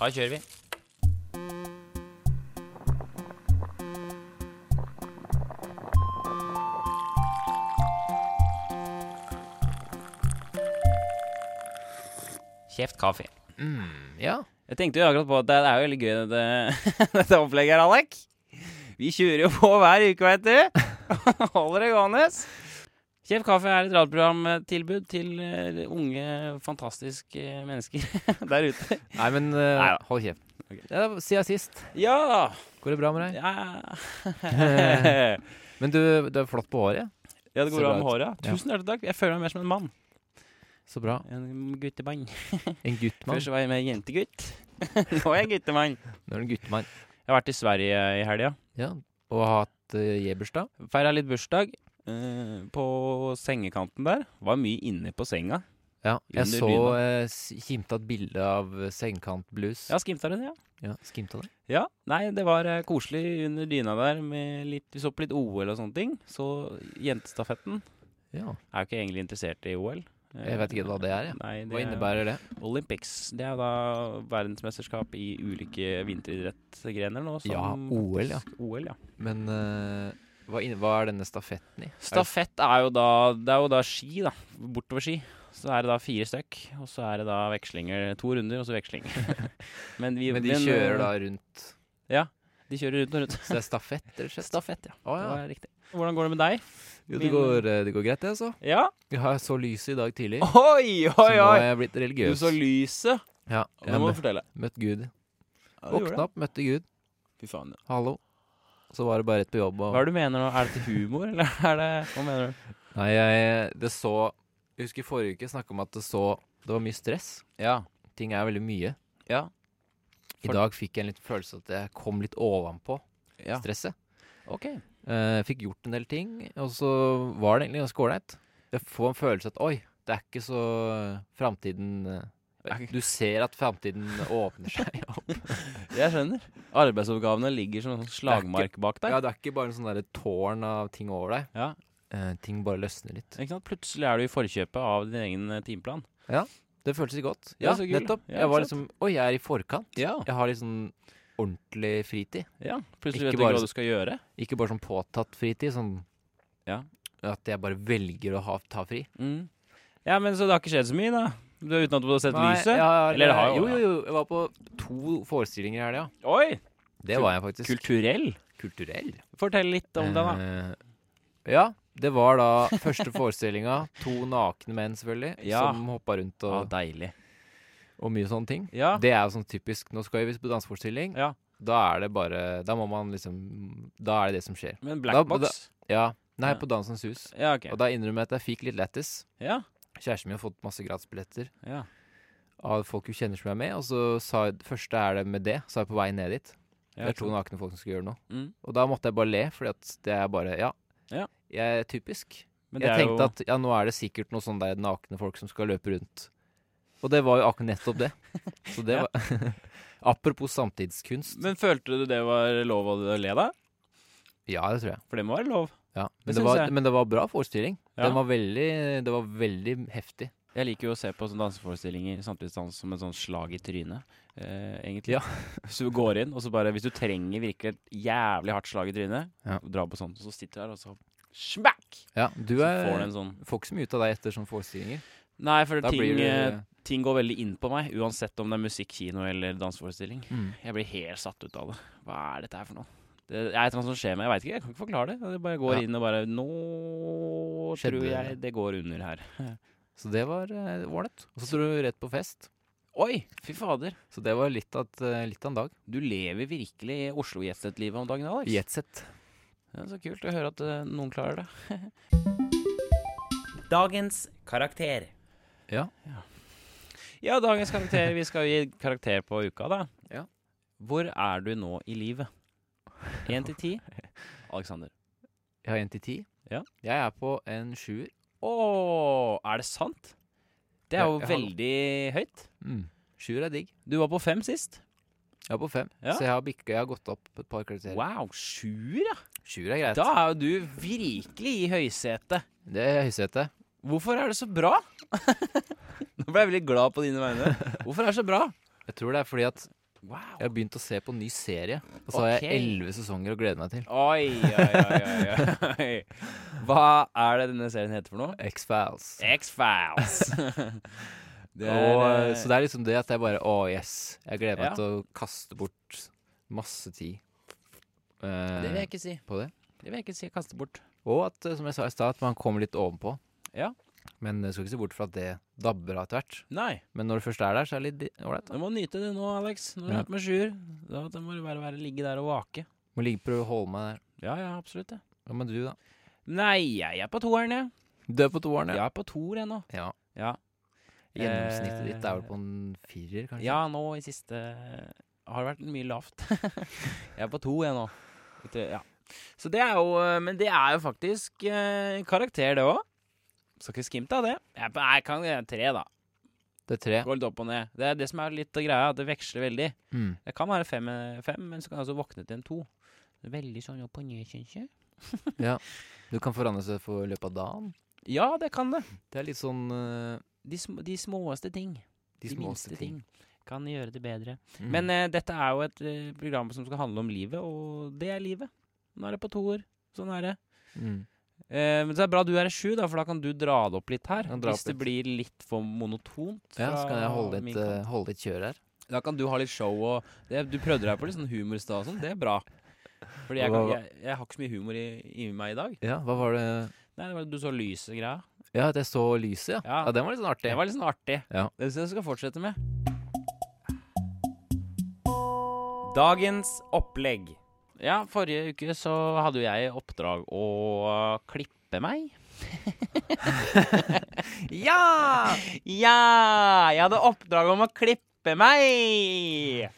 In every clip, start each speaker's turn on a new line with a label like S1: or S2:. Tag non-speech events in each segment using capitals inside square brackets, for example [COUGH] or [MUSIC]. S1: Da kjører vi. Kjeft kaffe.
S2: Ja.
S1: Jeg tenkte jo akkurat på at det er jo veldig gøy dette, [LAUGHS] dette opplegget her, Alek. Vi kjører jo på hver uke, vet du. [LAUGHS] Holder det gående. Kjeft kaffe er et radioprogramtilbud til eh, unge, fantastiske mennesker [LAUGHS] der ute.
S2: Nei, men eh,
S1: Neida.
S2: hold kjeft.
S1: Ok.
S2: Ja, siden sist.
S1: Ja!
S2: Går det bra
S1: [LAUGHS]
S2: med deg? Eh,
S1: Ja,
S2: Men du, du er flott på håret.
S1: ja det går
S2: Så
S1: bra
S2: bra
S1: med
S2: ut.
S1: håret. ja.
S2: Ja.
S1: Tusen hjertelig takk. Jeg føler meg mer som en mann.
S2: Så bra.
S1: En guttemann.
S2: En guttmann.
S1: Først var jeg mer [LAUGHS] jentegutt. Nå er jeg guttemann.
S2: Nå er du en guttmann.
S1: Jeg har vært i Sverige i helga.
S2: Ja. Og har hatt uh, jebursdag.
S1: Feira litt bursdag. eh, på sengekanten der. Var mye inne på senga.
S2: Ja. Jeg
S1: Under
S2: så
S1: dyna.
S2: eh, s- skimta et bilde av eh, sengekantblues.
S1: Ja, skimta du det? Ja.
S2: ja. Skimta det?
S1: ja. Nei, det var eh, koselig under dyna der. Med litt, vi så på litt OL og sånne ting. Så jentestafetten
S2: Ja.
S1: er jo ikke egentlig interessert i OL. Eh,
S2: Jeg vet ikke hva det er, jeg.
S1: Nei, det
S2: Hva
S1: er jo-
S2: innebærer det?
S1: Olympics. Det er jo da verdensmesterskap i ulike vinteridrettsgrener nå. Som
S2: Ja, OL, ja.
S1: OL, ja.
S2: Men eh, hva, inne, hva er denne stafetten i? Er det-
S1: Stafett er jo da Det er jo da ski, da. Bortover ski. Så er det da fire stykk, og så er det da vekslinger. To runder, og så veksling. [LAUGHS] men, eh, vi,
S2: Men de kjører da rundt
S1: De kjører rundt og rundt.
S2: Så det er stafett, rett og slett?
S1: Stafett, ja.
S2: Å,
S1: Det
S2: ja.
S1: var riktig. Hvordan går det med deg?
S2: Jo, det
S1: Min-
S2: går, eh, det går greit, det, altså.
S1: Ja?
S2: Jeg har så lyset i dag tidlig,
S1: Oi,
S2: så
S1: oi,
S2: nå
S1: oi!
S2: er jeg blitt
S1: Du
S2: religiøs.
S1: så lyset.
S2: Ja,
S1: Det
S2: jeg
S1: må
S2: mø
S1: du fortelle.
S2: møtt Gud.
S1: Ja, du gjorde
S2: Våkna
S1: det.
S2: opp, møtte Gud.
S1: Fy faen. ja.
S2: Hallo. Så var det bare rett på jobb.
S1: Hva
S2: Og...
S1: er det du mener nå? Er det til humor, eller [LAUGHS] er det Hva mener du?
S2: Nei, jeg, det så Jeg husker forrige uke snakka om at det så Det var mye stress.
S1: Ja.
S2: Ting er veldig mye.
S1: Ja.
S2: I
S1: For-
S2: dag fikk jeg en liten følelse at jeg kom litt ovenpå
S1: ja.
S2: stresset.
S1: OK.
S2: Eh, fikk gjort en del ting, og så var det egentlig ganske ålreit. Jeg får en følelse at oi, det er ikke så framtiden eh, Du ser at framtiden åpner seg opp.
S1: Jeg skjønner. Arbeidsoppgavene ligger som en sånn slagmark bak deg.
S2: Ja, det er ikke bare en sånn derre tårn av ting over deg.
S1: Ja.
S2: Eh, ting bare løsner litt.
S1: Ikke sant? Plutselig er du i forkjøpet av din egen eh, timeplan.
S2: Det føltes godt.
S1: Ja,
S2: Ja,
S1: så kul.
S2: nettopp.
S1: Ja,
S2: jeg var
S1: ikke
S2: liksom Oi, jeg er i forkant.
S1: Ja.
S2: Jeg har liksom ordentlig fritid.
S1: Plutselig
S2: Ikke
S1: vet du
S2: bare
S1: ikke hva
S2: så-
S1: du skal gjøre.
S2: Ikke bare sånn påtatt fritid, sånn
S1: Ja.
S2: at jeg bare velger å ha, ta fri.
S1: Mm. Ja, men Så det har ikke skjedd så mye, da? Du, uten at du har sett
S2: Nei,
S1: lyset?
S2: ja,
S1: Eller det har jo-
S2: jo, jo, jo. Jeg var på to forestillinger i helga.
S1: Oi!
S2: Det var jeg faktisk.
S1: Kulturell.
S2: Kulturell.
S1: Fortell litt om det, da.
S2: Eh, ja. Det var da første forestillinga. To nakne menn, selvfølgelig,
S1: Ja.
S2: som hoppa rundt
S1: Ja,
S2: og,
S1: deilig.
S2: og mye sånne ting.
S1: Ja.
S2: Det er jo sånn typisk Nå skal vi på danseforestilling.
S1: Ja.
S2: Da er det bare Da må man liksom Da er det det som skjer.
S1: Men Black
S2: Da-
S1: Box?
S2: Ja. Nei,
S1: Ja.
S2: på Dansens Hus.
S1: Ja, ok.
S2: Og da innrømmer jeg at jeg fikk litt lættis.
S1: Ja.
S2: Kjæresten min har fått masse gratisbilletter
S1: ja.
S2: av folk hun kjenner som er med. Og så sa jeg første er det med det, sa jeg på vei ned dit.
S1: Ja,
S2: det er to
S1: sant.
S2: nakne folk som skal gjøre noe.
S1: Mm.
S2: Og da måtte jeg bare le, fordi at det er bare Ja.
S1: Ja.
S2: Jeg er typisk.
S1: Men det
S2: Jeg
S1: er jo
S2: tenkte at ja, nå er det sikkert noen sånne der nakne folk som skal løpe rundt. Og det var jo akkurat
S1: [LAUGHS]
S2: nettopp det. Så det
S1: Ja.
S2: var [LAUGHS] Apropos samtidskunst.
S1: Men følte du det var lov å le, da?
S2: Ja, det tror jeg.
S1: For det må være lov.
S2: Ja.
S1: Det
S2: Men, det
S1: syns
S2: var,
S1: jeg.
S2: men det var bra forestilling.
S1: Ja.
S2: Den var veldig, det var veldig heftig.
S1: Jeg liker jo å se på sånne danseforestillinger samtidsdans som en sånn slag i trynet. Eh, egentlig.
S2: Ja.
S1: [LAUGHS] så du går inn, og så bare Hvis du trenger virkelig et jævlig hardt slag i trynet,
S2: Ja.
S1: dra på sånn, så sitter du der, og så smack!
S2: Ja, du
S1: Så får du
S2: er,
S1: en sånn
S2: får ikke så mye ut av deg etter sånne forestillinger.
S1: Nei, for
S2: Da
S1: ting,
S2: blir du
S1: eh, ting går veldig inn på meg, uansett om det er musikk, kino eller danseforestilling.
S2: mm.
S1: Jeg blir helt satt ut av det. Hva er dette her for noe? Det er et eller annet som skjer med Jeg veit ikke, jeg kan ikke forklare det. Jeg bare går
S2: Ja.
S1: inn og bare Nå
S2: Skjedde
S1: tror
S2: det.
S1: jeg det går under her.
S2: Så det var eh, ålreit. Og så dro du rett på fest.
S1: Oi, fy fader.
S2: Så det var litt av, et, eh, litt av en dag.
S1: Du lever virkelig Oslo-jetset-livet om dagen, Alex.
S2: Jetsett.
S1: Ja, så kult å høre at eh, noen klarer det. [LAUGHS] dagens karakter.
S2: Ja.
S1: Ja, dagens karakter. Vi skal gi karakter på uka, da.
S2: Ja.
S1: Hvor er du nå i livet? Én til
S2: [LAUGHS]
S1: ti? Aleksander.
S2: Jeg har én til ti.
S1: Ja.
S2: Jeg er på en sjuer.
S1: Å, er det sant? Det er
S2: Jeg-
S1: jo
S2: jeg har-
S1: veldig høyt.
S2: Mm. Sjuer er digg.
S1: Du var på fem sist.
S2: Jeg er på fem.
S1: Ja.
S2: Så jeg har, bikket, jeg har gått opp et par karakterer.
S1: Wow, sjuer, ja.
S2: Sjuer er greit.
S1: Da er jo du virkelig i høysetet.
S2: Det er høysetet.
S1: Hvorfor er det så [LAUGHS] bra? Nå ble jeg veldig glad på dine vegne. Hvorfor er det så bra?
S2: Jeg tror det er fordi at
S1: Wow.
S2: Jeg har begynt å se på en ny serie. Og så har jeg
S1: Ok.
S2: elleve sesonger å glede meg til.
S1: Oi, oi, oi, oi, oi. [LAUGHS] Hva er det denne serien heter for noe?
S2: X-Files.
S1: X-Files. [LAUGHS] det
S2: Og,
S1: eh,
S2: eh, så det er liksom det at jeg bare Å, yes. Jeg gleder meg
S1: Ja.
S2: til å kaste bort masse tid
S1: det vil
S2: eh,
S1: jeg ikke si.
S2: på det.
S1: Det vil jeg ikke si. Jeg kaster bort.
S2: Og at, eh, som jeg sa i stad, at man kommer litt ovenpå.
S1: Ja.
S2: Men jeg skal ikke se bort fra at det dabber av etter hvert.
S1: Nei.
S2: Men når du først er der, så er det litt di- ålreit. da.
S1: Du må nyte det nå, Alex. Når du
S2: Ja.
S1: er på med sjuer. Da da må du bare, bare ligge der og vake.
S2: Må ligge prøve å holde meg der.
S1: Ja, ja, absolutt. Ja.
S2: Hva med du, da?
S1: Nei, jeg er på toeren, jeg.
S2: Du er på toeren,
S1: Jeg
S2: ja.
S1: er på toer ennå.
S2: ja.
S1: Ja.
S2: Gjennomsnittet ditt er vel
S1: Eh,
S2: på en firer, kanskje?
S1: Ja, nå i siste har det vært mye lavt. [LAUGHS] jeg er på to, jeg nå. Vet du, Ja. Så det er jo eh, Men det er jo faktisk eh, karakter, det òg. Skal ikke skimte av det. Jeg, er på- jeg kan eh, tre, da.
S2: Det er tre.
S1: Går litt opp og ned. Det er det som er litt av greia, at det veksler veldig.
S2: Mm.
S1: Det kan være fem, eh, fem men så kan jeg også våkne til en to. Det er Veldig sånn opp og ned, syns jeg.
S2: Du kan forandre seg for løpet av dagen.
S1: Ja, det kan det.
S2: Det er litt sånn eh,
S1: De, sm de småeste ting.
S2: de, småeste ting.
S1: Kan gjøre det bedre.
S2: Mm.
S1: Men eh, dette er jo et eh, program som skal handle om livet, og det er livet. Nå er det på toer. Sånn er det.
S2: mm.
S1: Eh, men så er det bra du er i sju, da, for da kan du dra det opp litt her.
S2: Kan dra
S1: Hvis
S2: opp
S1: det blir litt for monotont.
S2: Ja, så kan jeg
S1: fra
S2: holde
S1: min
S2: litt,
S1: kant.
S2: eh, holde litt kjør her.
S1: Da kan du ha litt show og det, Du prøvde deg på litt sånn humor i stad og sånn. Det er bra. Fordi jeg, kan,
S2: Hva-
S1: jeg, jeg har ikke så mye humor i, i meg i dag.
S2: Ja, hva var det
S1: Nei, det var Du så lyset greia.
S2: Ja, at jeg så lyset, ja. ja.
S1: Ja.
S2: den var litt sånn artig.
S1: Det var litt sånn artig.
S2: Ja.
S1: Det syns jeg du skal fortsette med. Dagens opplegg. Ja, forrige uke så hadde jo jeg i oppdrag å klippe meg. ja! Ja! Jeg hadde oppdrag om å klippe meg.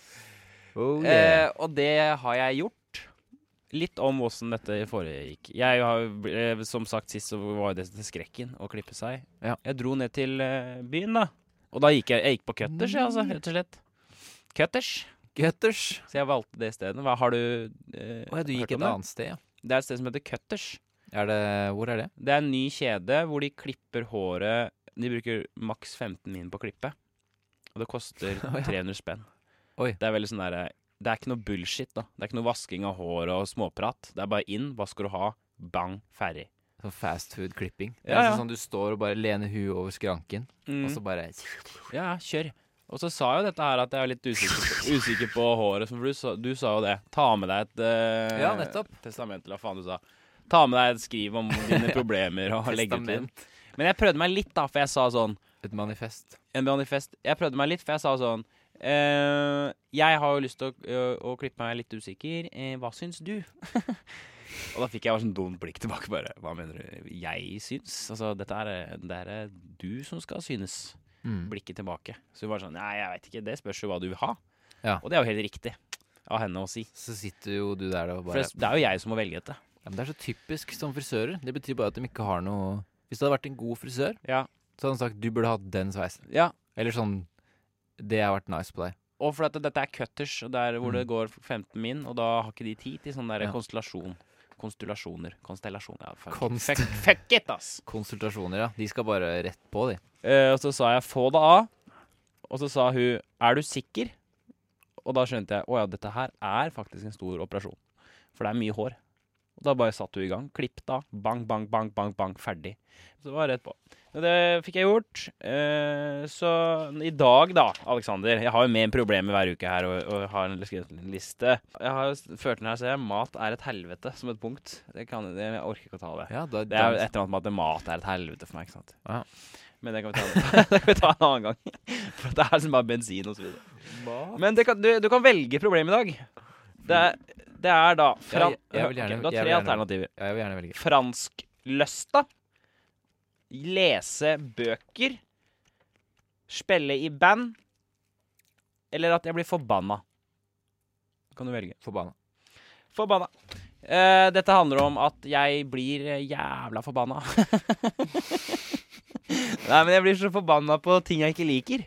S2: Oh,
S1: eh, og det har jeg gjort. Litt om åssen dette foregikk. Jeg har, jo bl- eh, Som sagt sist så var jo det til skrekken å klippe seg.
S2: Ja.
S1: Jeg dro ned til eh, byen, da. Og da gikk jeg, jeg gikk på cutters, jeg, altså, rett og slett. Cutters.
S2: Gutters!
S1: Så jeg valgte det stedet. Hva har du eh,
S2: Å ja, du
S1: hørt
S2: gikk
S1: om
S2: et
S1: det?
S2: annet sted, ja.
S1: Det er et sted som heter Cutters.
S2: Er det, hvor er det?
S1: Det er en ny kjede hvor de klipper håret De bruker maks 15 min på å klippe. Og det koster
S2: [LAUGHS] Å, ja.
S1: 300 spenn.
S2: Oi.
S1: Det er veldig sånn derre Det er ikke noe bullshit, da. Det er ikke noe vasking av håret og småprat. Det er bare inn, hva skal du ha? Bang, ferdig.
S2: Sånn fast food klipping. Det
S1: Ja,
S2: er
S1: ja.
S2: liksom Sånn du står og bare lener huet over skranken, og så bare
S1: Ja, ja, kjør. Og så sa jo dette her at jeg er litt usikker
S2: [LAUGHS]
S1: på, usikker på håret, for du sa, du sa jo det. Ta med deg et eh,
S2: Ja, nettopp.
S1: testament, eller hva faen du sa. Ta med deg et skriv om dine
S2: [LAUGHS]
S1: problemer og legge ut litt.
S2: Testament.
S1: Men jeg prøvde meg litt, da, for jeg sa sånn
S2: Et manifest.
S1: En manifest Jeg prøvde meg litt, for jeg sa sånn eh, Jeg har jo lyst til å, å- å klippe meg litt usikker. Eh, hva syns du? [LAUGHS] og da fikk jeg bare sånn dumt blikk tilbake. bare Hva mener du? Jeg syns? Altså, dette er, det er eh, du som skal synes
S2: Mm.
S1: blikket tilbake. Så hun var sånn Nei, jeg veit ikke, det spørs jo hva du vil ha.
S2: Ja.
S1: Og det er jo helt riktig av henne å si.
S2: Så sitter jo du der og
S1: For
S2: bare
S1: det det er jo jeg som må velge dette.
S2: ja, men Det er så typisk som frisører. Det betyr bare at de ikke har noe Hvis det hadde vært en god frisør,
S1: Ja.
S2: så hadde han sagt du burde hatt den sveisen.
S1: ja.
S2: Eller sånn Det har vært nice på deg.
S1: Og for at dette er cutters, og det er hvor
S2: Mm.
S1: det går 15 min, og da har ikke de tid til sånn der
S2: Ja.
S1: konstellasjon. Konstellasjoner. Konstellasjon. Ja, fuck,
S2: Konst-
S1: fuck, fuck it, ass!
S2: Konsultasjoner, ja. De skal bare rett på, de.
S1: Eh, og så sa jeg 'få det av', og så sa hun 'er du sikker?' Og da skjønte jeg 'å ja, dette her er faktisk en stor operasjon', for det er mye hår. Og da bare satte hun i gang. Klippet av. Bang, bang, bang, bang, bang. Ferdig. Så det var rett på. Og det fikk jeg gjort. Eh, så i dag, da, Aleksander Jeg har jo med problemer hver uke her og, og har en- skrevet en liste. Jeg har jo s- ført den her, ser jeg. Mat er et helvete som et punkt. Det kan, det, jeg orker ikke å ta det.
S2: Ja, da,
S1: Det er jo et eller annet med at mat er et helvete for meg. ikke sant?
S2: Ja.
S1: Men det kan, vi ta, [LAUGHS] det kan vi ta en annen gang. [LAUGHS] For det er liksom bare bensin og så videre. Men det kan, du, du kan velge problemet i dag. Det er, det er da
S2: Ja,
S1: fran
S2: jeg- jeg vil gjerne-
S1: Ok, Du har
S2: jeg
S1: tre
S2: vil gjerne-
S1: alternativer.
S2: Ja, jeg vil gjerne velge.
S1: Franskløsta. Lese bøker. Spille i band. Eller at jeg blir forbanna. Kan du velge.
S2: Forbanna.
S1: Forbanna. Eh, dette handler om at jeg blir eh, jævla forbanna. [LAUGHS] Nei, men jeg blir så forbanna på ting jeg ikke liker.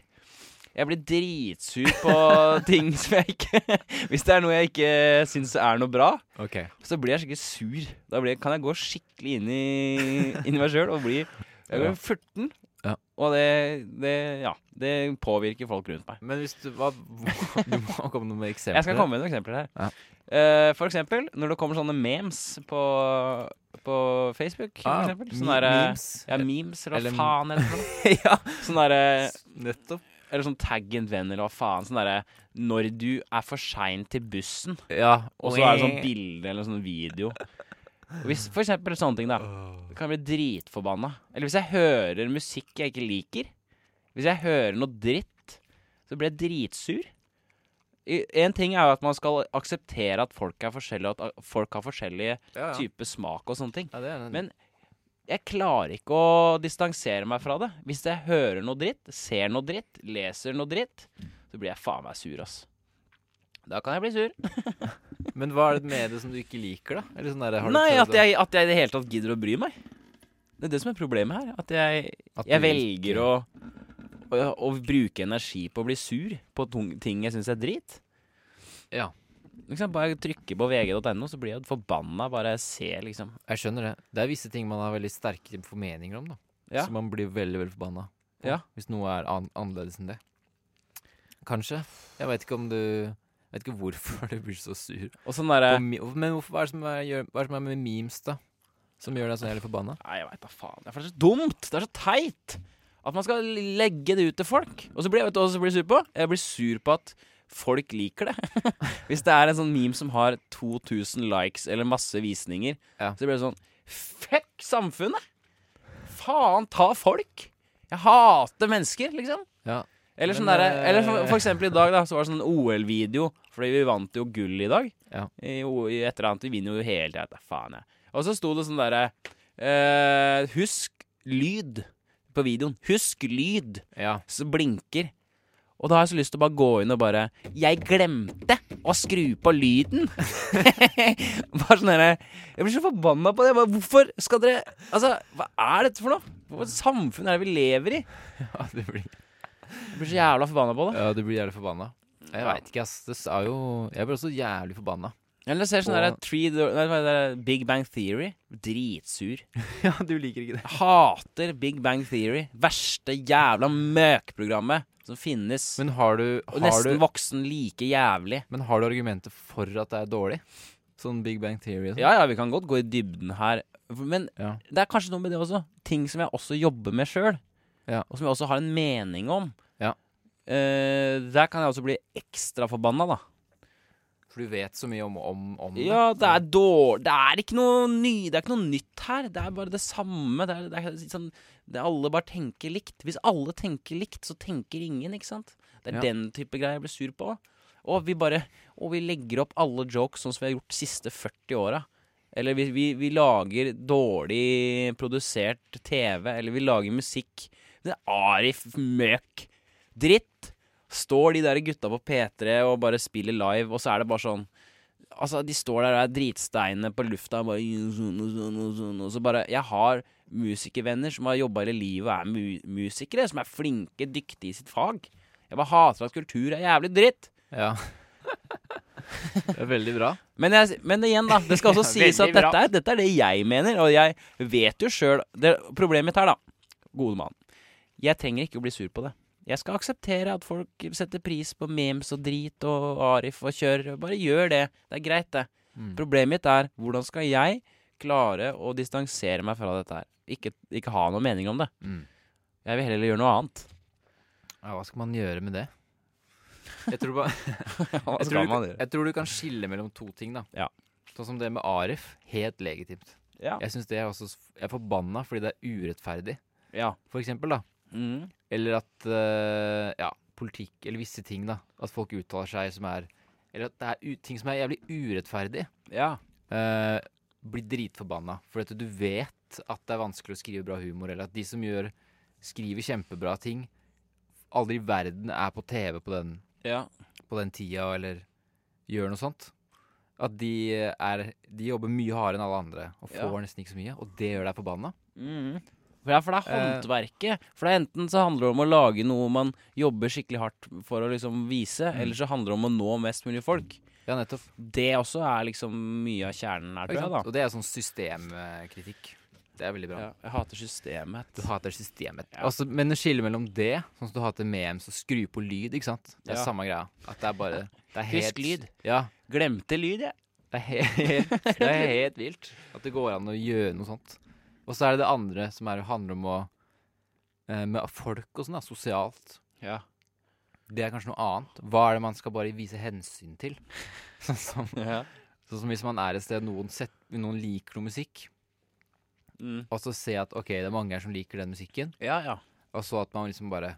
S1: Jeg blir dritsur på
S2: [LAUGHS]
S1: ting som jeg ikke [LAUGHS] Hvis det er noe jeg ikke syns er noe bra,
S2: Ok.
S1: så blir jeg skikkelig sur. Da blir, jeg- kan jeg gå skikkelig inn i, inn i meg sjøl og bli Jeg
S2: Ja.
S1: går furten.
S2: Ja.
S1: Og det, det, ja, det påvirker folk rundt meg.
S2: Men hvis du hva, [LAUGHS] Du må komme med eksempler.
S1: Jeg skal komme med noen eksempler her.
S2: Ja.
S1: Eh, for eksempel når det kommer sånne memes på, på Facebook.
S2: Ah,
S1: for eksempel.
S2: me-
S1: Sånne der, eh,
S2: memes.
S1: Ja, memes, eller
S2: Eller-
S1: hva faen heter det. for
S2: [LAUGHS] ja,
S1: noe. Sånn derre
S2: nettopp.
S1: Eller sånn tagg en venn, eller hva faen. Sånn derre Når du er for sein til bussen,
S2: Ja,
S1: og så er det sånn bilde eller sånn video. Og Hvis for eksempel sånne ting, da. Kan jeg bli dritforbanna. Eller hvis jeg hører musikk jeg ikke liker. Hvis jeg hører noe dritt, så blir jeg dritsur. Én ting er jo at man skal akseptere at folk er forskjellige, og at a- folk har forskjellige
S2: ja, ja.
S1: typer smak og sånne ting.
S2: ja, det er en,
S1: Men jeg klarer ikke å distansere meg fra det. Hvis jeg hører noe dritt, ser noe dritt, leser noe dritt, så blir jeg faen meg sur, ass. Da kan jeg bli sur.
S2: men hva er det med det som du ikke liker, da? Eller sånn der, har du
S1: Nei,
S2: prøvd
S1: at
S2: det?
S1: jeg, at jeg i det hele tatt gidder å bry meg. Det er det som er problemet her. At jeg,
S2: At
S1: jeg
S2: du
S1: velger å, å, å bruke energi på å bli sur på tung- ting jeg syns er drit.
S2: Ja.
S1: Liksom, bare jeg trykker på vg.no, så blir jeg forbanna bare jeg ser, liksom.
S2: Jeg skjønner det. Det er visse ting man har veldig sterke formeninger om, da.
S1: Ja.
S2: Så man blir veldig, veldig forbanna. på,
S1: Ja.
S2: Hvis noe er an annerledes enn det. Kanskje. Jeg vet ikke om du Jeg vet ikke hvorfor [LAUGHS] du blir så sur.
S1: Og sånn
S2: På
S1: derre
S2: mi- Men hvorfor, hva, er det som er, gjør, hva er det som er med memes, da? Som gjør deg så jævlig forbanna?
S1: Nei, jeg veit da faen. Det er for så dumt! Det er så teit! At man skal legge det ut til folk. Og så blir jeg vet du, hva jeg blir sur på Jeg blir sur på at folk liker det. [LAUGHS] Hvis det er en sånn meme som har 2000 likes eller masse visninger,
S2: Ja.
S1: så blir det sånn Fuck samfunnet! Faen ta folk! Jeg hater mennesker, liksom.
S2: Ja.
S1: Eller, sånn
S2: Men,
S1: derre-
S2: eh,
S1: eller for, for eksempel i dag, da, så var det sånn OL-video, fordi vi vant jo gull i dag.
S2: Ja.
S1: I, o- i et eller annet, vi vinner jo hele tida. da Faen, jeg. Og så sto det sånn derre eh, Husk lyd på videoen. Husk lyd!
S2: ja.
S1: Så blinker. Og da har jeg så lyst til å bare gå inn og bare Jeg glemte å skru på lyden! [LAUGHS] bare sånn derre Jeg blir så forbanna på det. Jeg Bare, hvorfor skal dere Altså, hva er dette for noe? Hva samfunn er det vi lever i?
S2: [LAUGHS] ja du blir,
S1: Jeg blir så jævla forbanna på det.
S2: ja, du blir jævlig forbanna. Jeg
S1: Ja.
S2: veit ikke, ass. Det sa jo Jeg ble også jævlig forbanna.
S1: Eller jeg ser sånn
S2: Og-
S1: der Three Do- nei, hva er det? Big Bang Theory. Dritsur.
S2: [LAUGHS] ja, du liker ikke det.
S1: Jeg hater Big Bang Theory. Verste jævla møkprogrammet som finnes.
S2: Men har du,
S1: og
S2: har
S1: nesten
S2: du
S1: voksen like jævlig.
S2: Men har du argumenter for at det er dårlig? Sånn Big Bang Theory og sånn?
S1: Ja ja, vi kan godt gå i dybden her. Men
S2: Ja.
S1: det er kanskje noe med det også. Ting som jeg også jobber med sjøl.
S2: Ja.
S1: Og som jeg også har en mening om.
S2: Ja.
S1: Eh, der kan jeg også bli ekstra forbanna, da.
S2: For du vet så mye om, om, om det.
S1: Ja, det er dårlig Det er ikke noe ny Det er ikke noe nytt her Det er bare det samme Det er, det er sånn det er Alle bare tenker likt Hvis alle tenker likt Så tenker ingen, ikke sant? Det er
S2: Ja.
S1: den type greier jeg blir sur på Og vi bare Og vi legger opp alle jokes Sånn som vi har gjort de siste 40 åra Eller vi, vi, vi lager dårlig produsert TV Eller vi lager musikk Det er arif møk Dritt Står de der gutta på P3 og bare spiller live Og så er det bare sånn Altså, de står der og er dritsteine på lufta og bare sånn og sånn og sånn, og så bare Jeg har musikervenner som har jobba hele livet og er mu musikere, som er flinke, dyktige i sitt fag. Jeg bare hater at kultur er jævlig dritt.
S2: Ja. [LAUGHS] det er veldig bra.
S1: Men, jeg, men igjen, da.
S2: [LAUGHS]
S1: Det skal også
S2: Ja,
S1: sies at
S2: veldig bra.
S1: dette er, dette er det jeg mener, og jeg vet jo sjøl Problemet mitt her, da, gode mann, jeg trenger ikke å bli sur på det. Jeg skal akseptere at folk setter pris på memes og drit og Arif og kjør. Bare gjør det. Det er greit, det.
S2: Mm,
S1: Problemet mitt er hvordan skal jeg klare å distansere meg fra dette her? Ikke, ikke ha noe mening om det.
S2: Mm.
S1: Jeg vil heller gjøre noe
S2: [LAUGHS]
S1: annet.
S2: Ja, hva skal man gjøre med det? Jeg tror, ba,
S1: Hva
S2: jeg, tror du, kan- jeg tror du kan skille mellom to ting, da.
S1: Ja.
S2: Sånn som det med Arif. Helt legitimt.
S1: Ja.
S2: Jeg synes det er også s- Jeg er forbanna fordi det er urettferdig,
S1: ja.
S2: for eksempel, da.
S1: Mm.
S2: Eller at eh, Ja, politikk eller visse ting, da. At folk uttaler seg som er Eller at det er u ting som er jævlig urettferdig.
S1: ja.
S2: eh, blir dritforbanna. For at du vet at det er vanskelig å skrive bra humor, eller at de som gjør, skriver kjempebra ting, aldri i verden er på TV på den,
S1: Ja.
S2: på den tida, eller gjør noe sånt. At de, er, de jobber mye hardere enn alle andre, og får
S1: Ja.
S2: nesten ikke så mye. Og det gjør deg forbanna.
S1: Mm. For, ja, for det er
S2: Eh.
S1: håndverket. For det er enten så handler det om å lage noe man jobber skikkelig hardt for å liksom vise,
S2: Mm.
S1: eller så handler det om å nå mest mulig folk.
S2: Ja, nettopp.
S1: Det også er liksom mye av kjernen her,
S2: Ikke
S1: tror jeg,
S2: sant?
S1: da.
S2: Og det er sånn systemkritikk. Det er veldig bra.
S1: Ja, jeg hater systemet.
S2: Du hater systemet.
S1: Ja.
S2: Altså, men å skille mellom det, sånn som du hater memes og skru på lyd, ikke sant. Det er
S1: Ja.
S2: samme greia. At det er bare det er
S1: Husk
S2: helt,
S1: lyd.
S2: Ja.
S1: Glemte lyd, jeg.
S2: Det er, [LAUGHS] helt, det er helt vilt at det går an å gjøre noe sånt. Og så er det det andre som er, handler om å eh, Med folk og sånn, da. Sosialt.
S1: Ja.
S2: Det er kanskje noe annet. Hva er det man skal bare vise hensyn til? [LAUGHS] Sånn som, sånn som hvis man er et sted noen, sett, noen liker noe musikk,
S1: Mm.
S2: og så ser jeg at ok, det er mange her som liker den musikken,
S1: ja, ja.
S2: og så at man liksom bare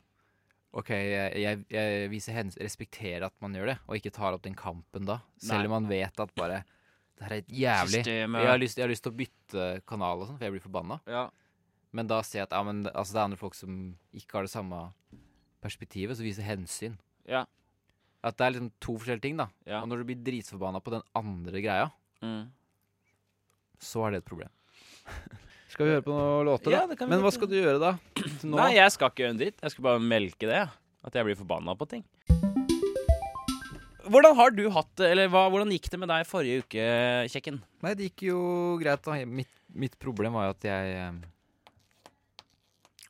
S2: OK, jeg, jeg, jeg viser hens, respekterer at man gjør det, og ikke tar opp den kampen da.
S1: Nei.
S2: Selv om man vet at bare Det her er helt jævlig.
S1: Systemet.
S2: Jeg har, lyst, jeg har lyst til å bytte kanal og sånn, for jeg blir forbanna.
S1: Ja.
S2: Men da ser jeg at ja, men, altså, det er andre folk som ikke har det samme perspektivet, så viser hensyn.
S1: Ja.
S2: At det er liksom to forskjellige ting, da.
S1: Ja.
S2: Og når du blir dritforbanna på den andre greia,
S1: Mm.
S2: så er det et problem. [LAUGHS] Skal vi høre på noen låter,
S1: Ja,
S2: da?
S1: det kan vi
S2: men
S1: godt
S2: hva skal du gjøre, da? Til nå?
S1: Nei, jeg skal ikke gjøre en dritt. Jeg skal bare melke det. jeg. At jeg blir forbanna på ting. Hvordan har du hatt det, eller hva, hvordan gikk det med deg forrige uke, Kjekken?
S2: Nei, det gikk jo greit. Da. Mitt, mitt problem var jo at jeg eh,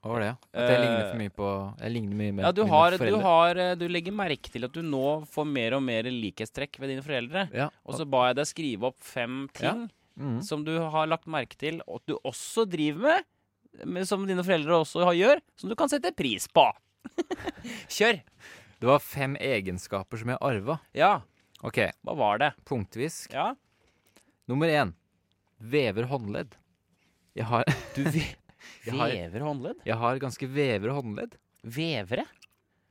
S2: Hva var det, ja? At jeg
S1: Eh,
S2: ligner for mye på Jeg ligner mye med
S1: Ja, du,
S2: mine
S1: har, du,
S2: foreldre.
S1: har, eh, du legger merke til at du nå får mer og mer likhetstrekk ved dine foreldre.
S2: Ja.
S1: Og så ba jeg deg skrive opp fem ting
S2: Mhm.
S1: som du har lagt merke til og at du også driver med, men som dine foreldre også har- gjør, som du kan sette pris på. [LAUGHS] Kjør!
S2: Det var fem egenskaper som jeg arva.
S1: Ja,
S2: Ok,
S1: hva var det?
S2: punktvisk.
S1: Ja,
S2: Nummer én. Vever håndledd. Jeg har, [LAUGHS]
S1: du ve-
S2: Jeg har-
S1: [LAUGHS] Vever håndledd?
S2: jeg har ganske vevre håndledd.
S1: Vevere?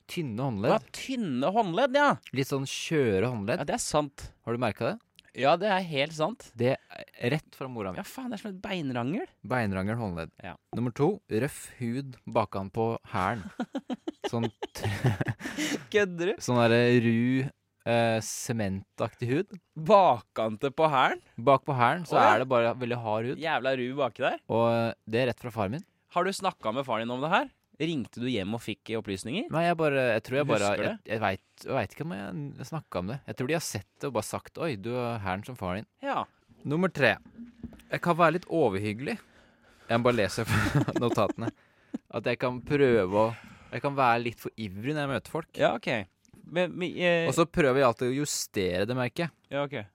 S2: Tynne
S1: Ja,
S2: håndledd.
S1: tynne håndledd, ja.
S2: Litt sånn skjøre håndledd.
S1: Ja, det er sant.
S2: Har du merka det?
S1: Ja, det er helt sant.
S2: Det er rett fra mora mi.
S1: Ja, faen, det er som et beinrangel.
S2: Beinrangel håndledd.
S1: Ja.
S2: Nummer to. Røff hud bakan på
S1: [LAUGHS]
S2: hælen. Sånn,
S1: Kødder du?
S2: sånn derre ru eh, sementaktig hud.
S1: Bakkante på hælen.
S2: Bak på hælen så
S1: Å, ja.
S2: er det bare veldig hard hud.
S1: Jævla ru baki der.
S2: Og eh, det er rett fra faren min.
S1: Har du snakka med faren din om det her? Ringte du hjem og fikk opplysninger?
S2: Nei, jeg bare Jeg tror jeg bare
S1: Husker
S2: Jeg,
S1: det?
S2: jeg veit ikke om jeg snakka om det. Jeg tror de har sett det og bare sagt 'oi, du er hæren som faren din'.
S1: Ja.
S2: Nummer tre. Jeg kan være litt overhyggelig. Jeg må bare lese [LAUGHS] fra notatene. At jeg kan prøve å Jeg kan være litt for ivrig når jeg møter folk.
S1: Ja, OK. Men, men eh,
S2: Og så prøver jeg alltid å justere det,
S1: [LAUGHS]
S2: merker jeg.
S1: Ja, OK.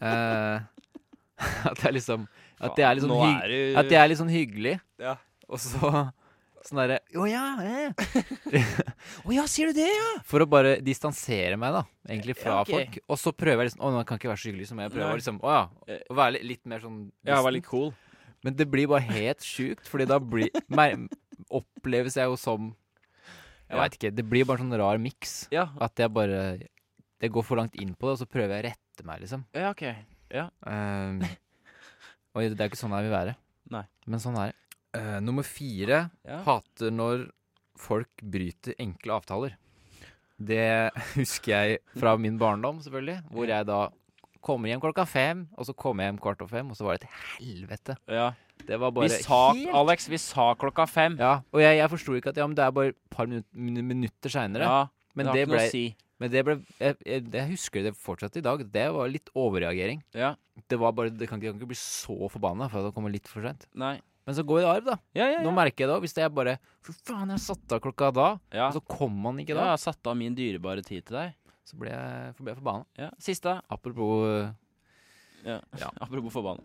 S2: Eh, [LAUGHS] at jeg liksom At jeg er litt sånn,
S1: Nå
S2: hygg,
S1: er du
S2: at jeg er litt sånn hyggelig,
S1: Ja.
S2: og så sånn derre Å ja, eh.
S1: Å ja, sier du det, ja?
S2: For å bare distansere meg da egentlig fra
S1: Ja, ok.
S2: folk. Og så prøver jeg liksom Å, nå kan jeg ikke være så hyggelig som jeg prøver
S1: Nei.
S2: å liksom, å, ja,
S1: Eh.
S2: å være litt, litt mer sånn
S1: Ja,
S2: distant.
S1: var litt cool.
S2: Men det blir bare helt sjukt, Fordi da blir mer, oppleves jeg jo som Jeg
S1: Ja.
S2: vet ikke. Det blir bare sånn rar miks.
S1: Ja,
S2: At jeg bare Jeg går for langt inn på det, og så prøver jeg å rette meg, liksom.
S1: ja OK.
S2: [LAUGHS] Ehm, og det er ikke sånn jeg vil være.
S1: Nei.
S2: Men sånn er det. Eh, nummer fire
S1: Ja.
S2: hater når folk bryter enkle avtaler. Det [LAUGHS] husker jeg fra min barndom, selvfølgelig. Hvor jeg da kommer hjem klokka fem, og så kommer jeg hjem kvart over fem, og så var det et helvete.
S1: Ja.
S2: Det var
S1: Vi
S2: bare
S1: sa,
S2: helt-
S1: Alex, vi sa klokka fem.
S2: Ja, og jeg, jeg forsto ikke at ja, men det er bare et par minut- min- minutter seinere.
S1: Ja,
S2: men,
S1: det har
S2: det
S1: ikke noe
S2: ble-
S1: å si.
S2: men det ble jeg, jeg, jeg husker det fortsatt i dag. Det var litt overreagering.
S1: Ja.
S2: Det var bare, det kan ikke, jeg kan ikke bli så forbanna for at det kommer litt for seint.
S1: Nei.
S2: Men så går det i arv, da.
S1: Ja, ja,
S2: Nå
S1: ja.
S2: merker jeg det òg. Hvis jeg bare Fy faen, jeg satte av klokka da,
S1: ja.
S2: og så kom man ikke
S1: Ja,
S2: da,
S1: jeg har satt av min dyrebare tid til deg.
S2: så ble jeg, ble jeg forbanna.
S1: Ja. Siste.
S2: Apropos øh,
S1: Ja.
S2: Ja.
S1: Apropos forbanna.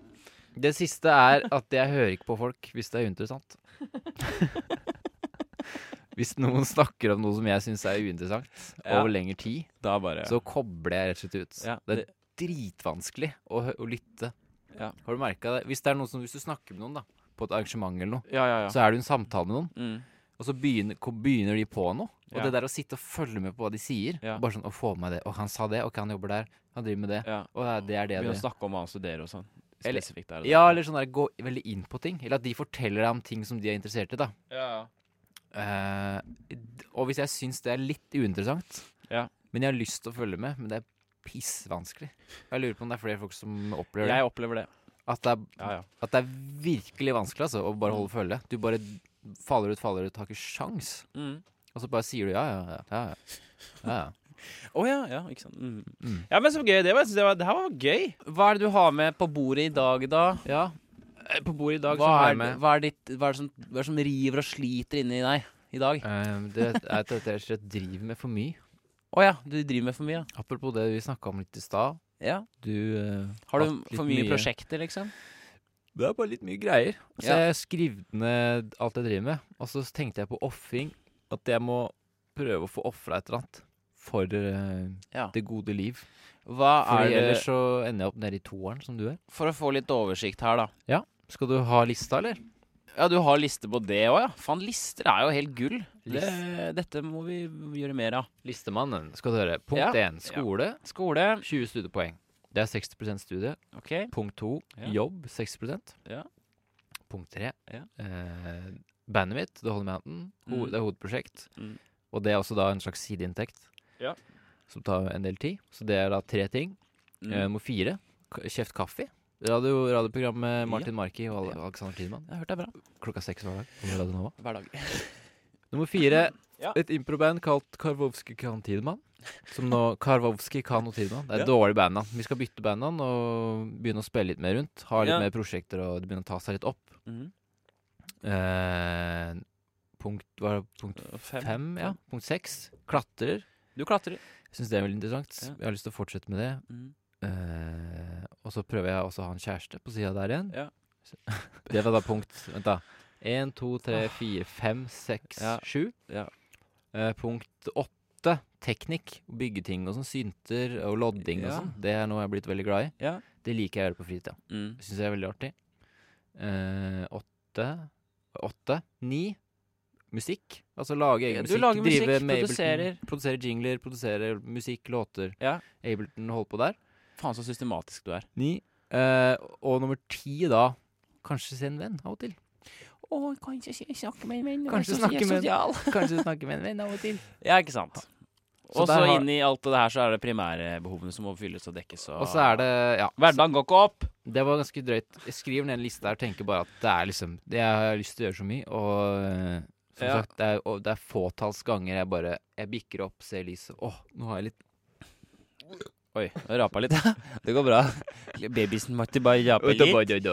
S2: Det siste er at jeg hører ikke på folk hvis det
S1: [LAUGHS]
S2: er uinteressant. hvis noen snakker om noe som jeg syns er uinteressant
S1: Ja.
S2: over lengre tid,
S1: Da bare
S2: så kobler jeg rett og slett ut.
S1: Ja,
S2: det er dritvanskelig å, hø- å lytte.
S1: Ja.
S2: Har du merka det? Hvis, det er noen som, hvis du snakker med noen da på et arrangement eller noe,
S1: Ja, ja, ja.
S2: så er du i en samtale med noen,
S1: Mm.
S2: Og så begynner, ko- begynner de på noe. Og
S1: Ja.
S2: det der å sitte og følge med på hva de sier
S1: Ja.
S2: Bare sånn, å få med meg det, og han sa det, og han jobber der, han driver med det
S1: ja.
S2: Og det er det, er det,
S1: Begynne å
S2: det.
S1: snakke om hva han studerer og sånn.
S2: Eller-
S1: Spesifikt der og der.
S2: Ja, eller sånn der, gå veldig inn på ting Eller at de forteller deg om ting som de er interessert i da
S1: Ja,
S2: Eh, d- Og hvis jeg synes det er litt uinteressant
S1: Ja.
S2: Men jeg har lyst til å følge med, men det er pissvanskelig Jeg lurer på om det er flere folk som
S1: ja.
S2: opplever det
S1: Jeg opplever det.
S2: At det er,
S1: Ja, ja.
S2: at det er virkelig vanskelig altså, å bare holde følge Du bare faller ut, faller ut, har ikke sjans
S1: Mm.
S2: Og så bare sier du ja, ja, ja, ja, ja. ja, ja.
S1: Å ja, ja, ikke sant. Mm.
S2: Mm.
S1: [LAUGHS] Ja, men så gøy. Det, var, det, var, det her var gøy. Hva er det du har med på bordet i dag, da?
S2: Ja.
S1: eh, på bordet i dag
S2: Hva
S1: som
S2: er
S1: er,
S2: med?
S1: hva, er ditt, hva, er det som, hva er det som river og sliter inni deg i dag? Å
S2: Eh, det er at jeg rett og slett driver med for mye.
S1: ja, du driver med for mye, ja.
S2: Apropos det vi snakka om litt i stad.
S1: ja.
S2: Du eh,
S1: Har du
S2: hatt litt
S1: for mye,
S2: mye-
S1: prosjekter, liksom?
S2: Det er bare litt mye greier. Så
S1: Ja.
S2: jeg skrev ned alt jeg driver med, og så tenkte jeg på ofring. At jeg må prøve å få ofra et eller annet for eh,
S1: Ja.
S2: det gode liv.
S1: Hva er
S2: Fordi
S1: det
S2: ellers så ender jeg opp nede i toeren, som du er.
S1: For å få litt oversikt her, da.
S2: Skal du ha lista, eller?
S1: Ja, du har liste på det òg, ja. Faen, lister er jo helt gull. Det,
S2: List-
S1: dette må vi gjøre mer av.
S2: Listemannen skal du høre. Punkt
S1: Ja.
S2: én skole.
S1: Skole.
S2: 20 studiepoeng. Det er 60 studie.
S1: Ok.
S2: Punkt to
S1: Ja.
S2: jobb. 60
S1: Ja.
S2: Punkt tre
S1: Ja.
S2: eh, bandet mitt, The Holy Mountain. Ho
S1: Mm.
S2: Det er hovedprosjekt.
S1: Mm.
S2: Og det er også da en slags sideinntekt
S1: Ja.
S2: som tar en del tid. Så det er da tre ting.
S1: Mm.
S2: Eh, nummer fire k- Kjeft kaffe. Radio, radioprogram med
S1: Ja.
S2: Martin Marki og Ale-
S1: Ja.
S2: Alexander Tidemann.
S1: Jeg har hørt det er bra.
S2: Klokka seks hver dag. på Radio Nova.
S1: Hver dag.
S2: Nummer fire,
S1: [CLEARS THROAT] Ja.
S2: et improband kalt Karvovski Kan Tidemann. Som
S1: [LAUGHS]
S2: nå Karvovski Kan og Tidemann. Det er
S1: Ja.
S2: et dårlig bandnavn. Vi skal bytte bandnavn og begynne å spille litt mer rundt. Ha litt
S1: Ja.
S2: mer prosjekter og begynne å ta seg litt opp.
S1: Mhm.
S2: Eh, punkt hva er det? Punkt
S1: Fem.
S2: fem, ja. Punkt seks. Klatrer.
S1: Du klatrer.
S2: Syns det er veldig interessant.
S1: Ja.
S2: Jeg har lyst til å fortsette med det.
S1: Mhm.
S2: Eh, og så prøver jeg også å ha en kjæreste på sida der igjen.
S1: Ja.
S2: [LAUGHS] det var da punkt Vent, da. Én, to, tre, fire, fem, seks,
S1: Ja.
S2: sju.
S1: Ja.
S2: Eh, punkt åtte. Teknikk. Bygge ting og sånn. Synter og lodding og
S1: Ja.
S2: sånn. Det er noe jeg er blitt veldig glad i.
S1: Ja.
S2: Det liker jeg å gjøre på fritida.
S1: Mm.
S2: Det syns jeg er veldig artig. Eh, åtte Åtte. Ni. Musikk. Altså lage
S1: Ja,
S2: egen
S1: du
S2: musikk.
S1: lager musikk,
S2: drive med Ableton,
S1: produserer.
S2: Produserer jingler, produserer musikk, låter.
S1: Ja.
S2: Ableton holder på der.
S1: Faen så systematisk du er.
S2: Ni. Eh, og nummer ti, da Kanskje se en venn av og til.
S1: Å, kanskje jeg snakke med en venn.
S2: og så si jeg er
S1: sosial.
S2: [LAUGHS] Kanskje snakke med en venn av og til.
S1: Ja, ikke sant.
S2: Så
S1: Og så
S2: der har-
S1: inn i alt det her så er det primærbehovene som må fylles og dekkes. Og,
S2: Og så er det Ja.
S1: Hverdagen går ikke opp.
S2: Det var ganske drøyt. Jeg skriver ned en liste her og tenker bare at det er liksom Jeg har lyst til å gjøre så mye, og eh, som
S1: Ja.
S2: sagt, det er, og det er fåtalls ganger jeg bare Jeg bikker opp, ser lyset Åh, nå har jeg litt
S1: Oi, jeg rapa litt. [LAUGHS] det går bra. Babysen måtte bare rape litt.
S2: Det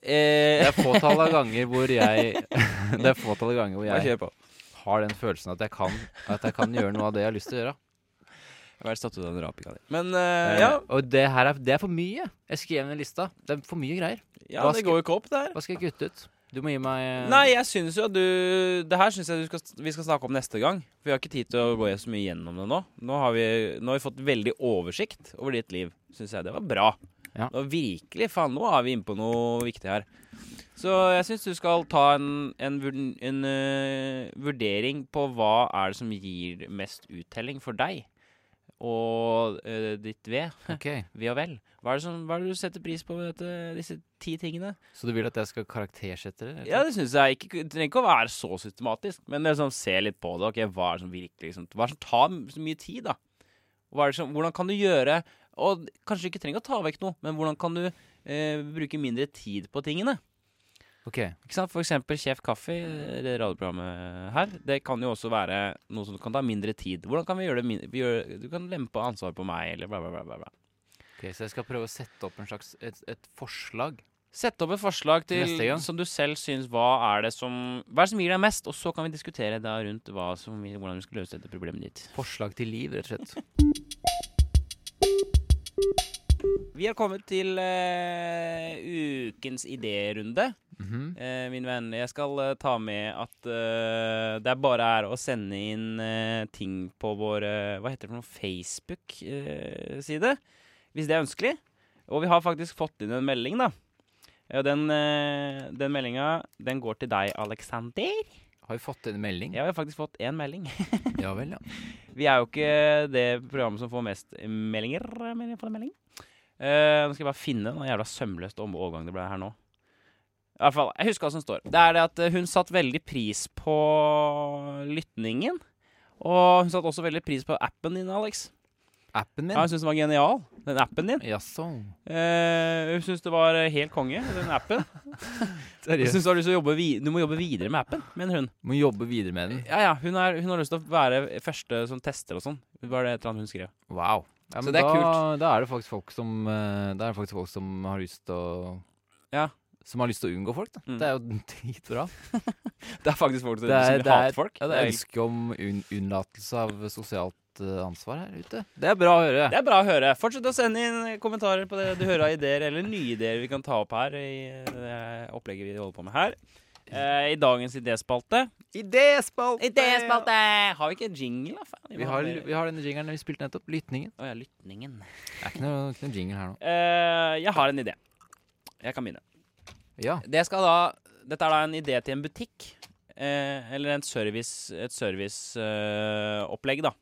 S1: Eh,
S2: er fåtall av ganger hvor jeg [LAUGHS] Det er fåtall av ganger hvor jeg
S1: på.
S2: har den følelsen at jeg kan At jeg kan gjøre noe av det jeg har lyst til å gjøre.
S1: Jeg har satt ut den rapinga di. Men eh,
S2: Eh,
S1: ja,
S2: Og det her er, det er for mye. Jeg skrev ned lista. Det er for mye greier.
S1: ja
S2: hva
S1: det
S2: skal-
S1: går jo ikke opp, det her.
S2: Hva skal jeg kutte ut? Du må gi meg eh,
S1: Nei, jeg syns jo at du Det her syns jeg du skal, vi skal snakke om neste gang. For vi har ikke tid til å gå så mye gjennom det nå. Nå har vi, nå har vi fått veldig oversikt over ditt liv. Syns jeg det var bra.
S2: Ja.
S1: Nå virkelig, faen, nå er vi inne på noe viktig her. Så jeg syns du skal ta en, en, vurd- en øh, vurdering på hva er det som gir mest uttelling for deg og øh, ditt ve.
S2: [LAUGHS] Ok,
S1: Ve og vel. Hva er det, som, hva er det du setter pris på ved dette, disse ti tingene?
S2: Så du vil at jeg skal karaktersette det?
S1: Ja, det syns jeg ikke. Det trenger ikke å være så systematisk, men liksom se litt på det. Ok, Hva er det som virkelig liksom, Hva er det som tar m- så mye tid, da? Hva er det som, hvordan kan du gjøre Og kanskje du ikke trenger å ta vekk noe, men hvordan kan du eh, bruke mindre tid på tingene?
S2: Ok,
S1: Ikke sant? For eksempel Sjef Kaffe, eh, det radioprogrammet her, det kan jo også være noe som kan ta mindre tid. Hvordan kan vi gjøre det min- vi gjør, Du kan lempe ansvaret på meg, eller bla, bla, bla. bla, bla.
S2: ok, Så jeg skal prøve å sette opp en slags, et, et forslag?
S1: Sett opp et forslag til
S2: Neste gang.
S1: som du selv syns hva er det som Hva er det som gir deg mest, og så kan vi diskutere da rundt hva som, vi- hvordan vi skal løse dette problemet ditt.
S2: Forslag til liv, rett og
S1: [LAUGHS]
S2: slett.
S1: Vi har kommet til eh, ukens idérunde.
S2: Mhm.
S1: Eh, min venn, jeg skal eh, ta med at eh, det er bare er å sende inn eh, ting på vår eh, Hva heter det for noe? Facebook-side. hvis det er ønskelig. Og vi har faktisk fått inn en melding, da. Ja, den eh, den meldinga, den går til deg, Aleksander.
S2: Har vi fått en melding?
S1: Jeg har faktisk fått én melding. [LAUGHS]
S2: Ja vel, ja.
S1: Vi er jo ikke det programmet som får mest meldinger. Men jeg får en melding. Eh, nå skal jeg bare finne noe jævla sømløst om overgang det ble her nå. I hvert fall, Jeg husker hva som står. Det er det at eh, hun satt veldig pris på lytningen. Og hun satt også veldig pris på appen din, Alex.
S2: Appen min?
S1: Ja, Hun syntes den var genial, den appen din.
S2: Jaså.
S1: Eh, hun syntes det var eh, helt konge, den appen. Hun
S2: Seriøst?
S1: synes du, har lyst til å jobbe vi du må jobbe videre med appen, mener hun.
S2: Må jobbe videre med den.
S1: Ja, ja, hun, er, hun har lyst til å være første som tester og sånn. Det var det et eller annet hun skrev.
S2: Wow. Ja,
S1: Så
S2: men
S1: det er
S2: da, Da er det faktisk folk som eh, Da er det faktisk folk som har lyst til å
S1: Ja,
S2: som har lyst til å unngå folk. Da.
S1: Mm.
S2: Det er jo [LAUGHS] dritbra.
S1: Det er faktisk folk som,
S2: Det er-
S1: som
S2: det er-
S1: hater folk.
S2: Ja, det
S1: det,
S2: er
S1: er,
S2: ønske om un unnlatelse av sosialt eh, ansvar her ute. Det er bra å høre.
S1: det er bra å høre. Fortsett å sende inn kommentarer på det du hører av ideer, eller nye ideer vi kan ta opp her i eh, opplegget vi holder på med her. Eh, I dagens idéspalte
S2: Idéspalte!
S1: Idéspalte! Har vi ikke jingle, da? Faen,
S2: Vi
S1: må ha
S2: har,
S1: mer.
S2: vi har denne jingeren vi spilte nettopp. Lytningen.
S1: Å ja, lytningen.
S2: Det er ikke noe, ikke noe jingle her nå.
S1: Eh, jeg har en idé. Jeg kan begynne.
S2: Ja.
S1: Det skal da, dette er da en idé til en butikk. Eh, eller en service, et serviceopplegg, da.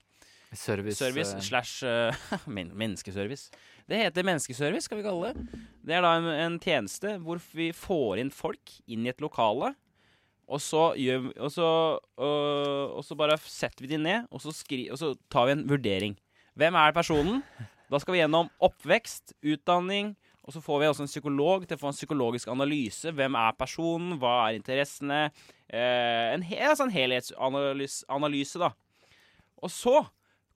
S2: Service.
S1: Service
S2: eh,
S1: slash eh, [LAUGHS] men, menneskeservice. Det heter menneskeservice, skal vi kalle det. Det er da en, en tjeneste hvor vi får inn folk inn i et lokale. Og så, gjør, og, så, øh, og så bare setter vi de ned, og så, skri, og så tar vi en vurdering. Hvem er personen? Da skal vi gjennom oppvekst, utdanning, og så får vi også en psykolog til å få en psykologisk analyse. Hvem er personen? Hva er interessene? Eh, en, he, altså en helhetsanalyse, analyse, da. Og så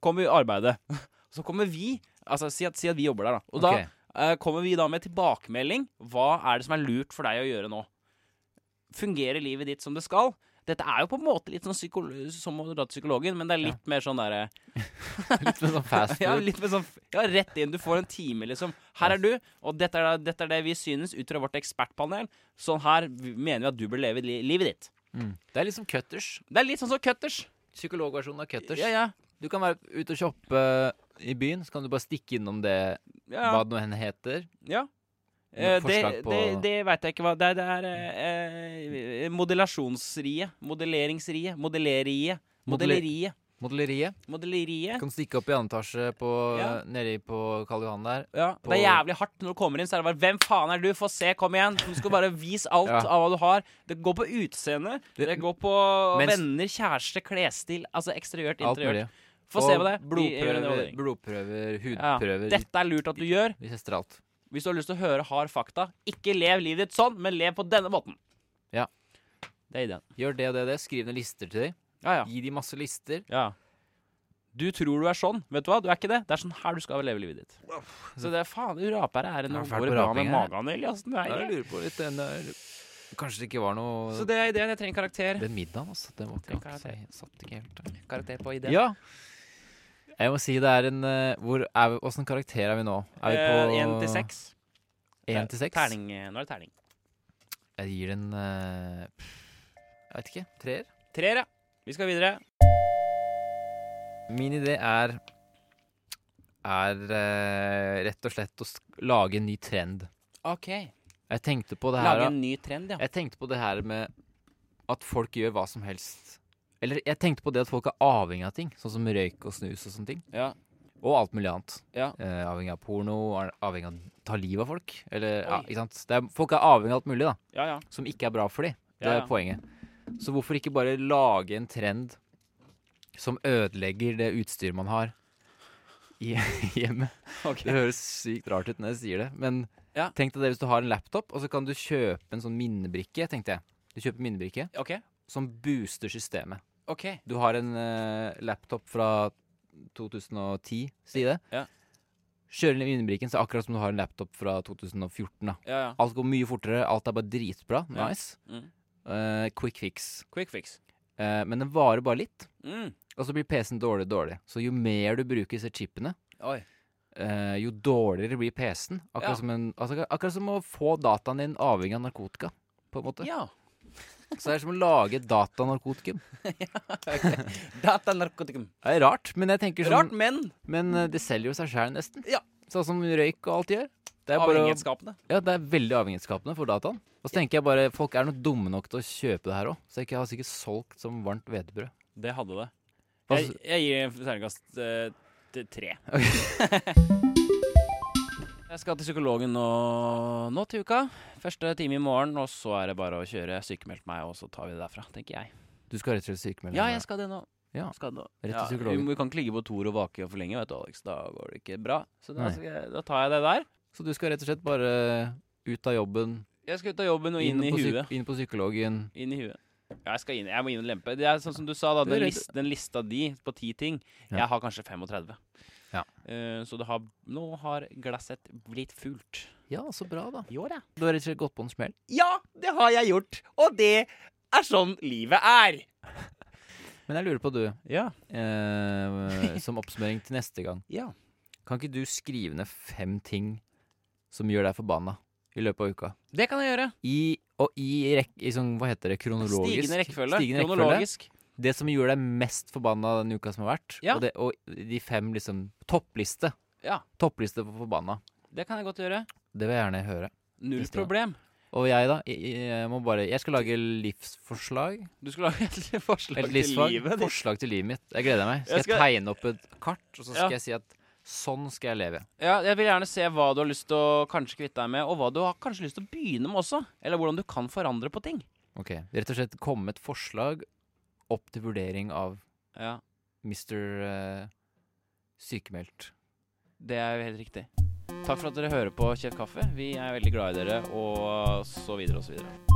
S1: kommer vi i arbeidet. [LAUGHS] Så kommer vi Altså, si at, si at vi jobber der, da. Og
S2: ok. [LAUGHS]
S1: da eh, kommer vi da med tilbakemelding. Hva er det som er lurt for deg å gjøre nå? Fungerer livet ditt som det skal? Dette er jo på en måte litt sånn psykolo som å dra til psykologen, men det er litt mer sånn derre
S2: Litt med sånn fast
S1: ja,
S2: food.
S1: litt med sånn Ja, rett inn. Du får en time, liksom. Her er du, og dette er, dette er det vi synes ut fra vårt ekspertpanel. Sånn her mener vi at du bør leve li livet ditt.
S2: Mm. Det er liksom cutters.
S1: Det er litt sånn som Cutters.
S2: Psykologversjonen av cutters.
S1: Ja, ja.
S2: Du kan være ute og shoppe i byen, så kan du bare stikke innom det
S1: ja,
S2: hva det nå enn heter.
S1: ja.
S2: Noe
S1: Eh, det
S2: forslag på-
S1: det, det veit jeg ikke hva Det er, det er eh, eh, modellasjonsriet. Modelleringsriet. Modelleriet.
S2: Modeller-
S1: Modelleriet.
S2: Modelleriet.
S1: Modelleriet.
S2: Kan stikke opp i andre etasje på,
S1: Ja.
S2: nedi på Karl Johan der.
S1: Ja,
S2: på-
S1: Det er jævlig hardt når du kommer inn. Så er det bare 'Hvem faen er du? Få se, kom igjen!' Du skal bare vise alt
S2: Ja.
S1: av hva du har. Det går på utseende, det,
S2: Det-
S1: går på
S2: Mens-
S1: venner, kjæreste, klesstil. Altså eksteriørt,
S2: Alt
S1: interiørt.
S2: mulig.
S1: Få se på det. Vi- vi gjør en
S2: Blodprøver,
S1: evaluering.
S2: blodprøver
S1: Ja.
S2: hudprøver.
S1: Dette er lurt at du gjør
S2: Vi tester alt.
S1: hvis du har lyst til å høre hard fakta. Ikke lev livet ditt sånn, men lev på denne måten.
S2: Ja.
S1: Det er ideen.
S2: Gjør det og det og det. Skriv ned lister til dem.
S1: Ja, ja.
S2: Gi dem masse lister.
S1: ja. Du tror du er sånn. Vet du hva? Du er ikke det. Det er sånn her du skal leve livet ditt. Så det er faen, du rapere er en
S2: Det er fælt
S1: alvorlig
S2: med
S1: bra med
S2: raping her.
S1: magen, Eliassen. Det er
S2: Jeg
S1: det.
S2: lurer på litt den der- Kanskje det ikke var noe
S1: Så det er ideen. Jeg trenger karakter.
S2: Den middagen, altså. Den var
S1: Tenk
S2: ikke,
S1: at det-
S2: jeg satt ikke helt der.
S1: Karakter på ideen.
S2: Ja. Jeg må si det er en eh, Hvor er vi, Åssen karakter er vi nå? Er vi på
S1: Eh, en til seks.
S2: En til seks?
S1: Terning. eh, Nå er det terning.
S2: Jeg gir den eh, pff, Jeg vet ikke. Treer?
S1: Treer, ja. Vi skal videre.
S2: Min idé er er eh, rett og slett å sk- lage en ny trend.
S1: OK.
S2: Jeg tenkte på det her
S1: Lage en ny trend, ja.
S2: Jeg tenkte på det her med at folk gjør hva som helst. Eller jeg tenkte på det at folk er avhengig av ting, sånn som røyk og snus og sånne ting.
S1: Ja.
S2: Og alt mulig annet.
S1: Ja.
S2: Eh, avhengig av porno, er avhengig av å ta livet av folk. Eller, ja,
S1: Oi.
S2: ikke sant? Det er, folk er avhengig av alt mulig, da.
S1: Ja, ja.
S2: Som ikke er bra for dem. Det
S1: Ja,
S2: er
S1: ja.
S2: poenget. Så hvorfor ikke bare lage en trend som ødelegger det utstyret man har i [LAUGHS] hjemmet?
S1: Ok.
S2: Det høres sykt rart ut når jeg sier det, men
S1: Ja.
S2: tenk deg det hvis du har en laptop, og så kan du kjøpe en sånn minnebrikke, tenkte jeg. Du kjøper minnebrikke
S1: OK.
S2: som booster systemet.
S1: ok
S2: Du har en eh, laptop fra 2010, si det.
S1: Ja.
S2: Kjører inn i minnebrikken, så er det akkurat som du har en laptop fra 2014. da.
S1: Ja, ja.
S2: Alt går mye fortere, alt er bare dritbra.
S1: Ja.
S2: Nice.
S1: Mm.
S2: Eh, quick fix.
S1: Quick fix.
S2: Eh, men den varer bare litt,
S1: Mm.
S2: og så blir PC-en dårlig dårlig. Så jo mer du bruker disse chipene,
S1: Oi.
S2: eh, jo dårligere blir PC-en. Akkurat,
S1: Ja.
S2: som en- altså, akkurat som å få dataen din avhengig av narkotika. På en måte.
S1: Ja.
S2: Så det er som å lage et datanarkotikum.
S1: Data narkotikum.
S2: Det er rart, men jeg tenker sånn
S1: Rart, men
S2: Men eh, det selger jo seg sjæl, nesten.
S1: Ja.
S2: Sånn som røyk og alt gjør. Det er, bare, å-
S1: avhengighetsskapende.
S2: ja, det er veldig avhengighetsskapende for dataen. Og så tenker jeg bare, folk er nok dumme nok til å kjøpe det her òg. Så jeg har sikkert solgt som varmt hvetebrød.
S1: Det hadde det.
S2: Hva
S1: Jeg, jeg gir en terningkast eh, til tre. [LAUGHS] jeg skal til psykologen nå, nå til uka. Første time i morgen, og så er det bare å kjøre sykemeldt meg, og så tar vi det derfra, tenker jeg.
S2: Du skal rett og slett sykemelde
S1: Ja,
S2: deg.
S1: jeg skal det nå.
S2: Ja.
S1: Skal det nå.
S2: Rett til
S1: Ja,
S2: psykologen.
S1: Vi, vi kan ikke ligge på Tor og vake for lenge, vet du, Alex. Da går det ikke bra. Så da,
S2: Nei.
S1: skal jeg, da tar jeg det der.
S2: Så du skal rett og slett bare ut av jobben,
S1: Jeg skal ut av jobben og inn, i
S2: på, psyk-
S1: huet.
S2: inn på psykologen.
S1: Inn i huet. Ja, jeg skal inn. Jeg må inn og lempe. Det er sånn som du sa, da.
S2: Du er
S1: Den,
S2: redd-
S1: list, den lista di på ti ting.
S2: Ja.
S1: Jeg har kanskje 35.
S2: Ja.
S1: Eh, så det har, nå har glasset blitt fullt.
S2: Ja, så bra, da.
S1: I år, ja.
S2: Du har rett og slett gått på en smell.
S1: Ja, det har jeg gjort. Og det er sånn livet er.
S2: Men jeg lurer på, du,
S1: Ja. [LAUGHS]
S2: eh, som oppsummering til neste gang
S1: Ja.
S2: Kan ikke du skrive ned fem ting som gjør deg forbanna i løpet av uka?
S1: Det kan jeg gjøre.
S2: I, og i, rek, i sånn, hva heter det, kronologisk
S1: Stigende rekkefølge.
S2: Stigende rekkefølge.
S1: Kronologisk.
S2: Det som gjorde deg mest forbanna den uka som har vært,
S1: Ja.
S2: og, det, og de fem liksom Toppliste.
S1: Ja.
S2: Toppliste for forbanna.
S1: Det kan jeg godt gjøre.
S2: Det vil jeg gjerne høre.
S1: Null
S2: Neste gang.
S1: problem.
S2: Og jeg, da? Jeg, jeg må bare Jeg skal lage livsforslag.
S1: Du skulle lage et [LAUGHS] forslag
S2: Eller
S1: til
S2: livsfag.
S1: livet ditt.
S2: Forslag til livet mitt. Jeg gleder meg. Skal
S1: Jeg
S2: jeg,
S1: skal-
S2: tegne opp et kart, og så skal
S1: Ja.
S2: jeg si at sånn skal jeg leve.
S1: Ja, jeg vil gjerne se hva du har lyst til å kanskje kvitte deg med, og hva du har kanskje lyst til å begynne med også. Eller hvordan du kan forandre på ting.
S2: Ok, Rett og slett komme med et forslag opp til vurdering av
S1: Ja,
S2: Mr. eh, sykemeldt.
S1: Det er jo helt riktig. Takk for at dere hører på Kjett kaffe. Vi er veldig glad i dere, og så videre og så videre.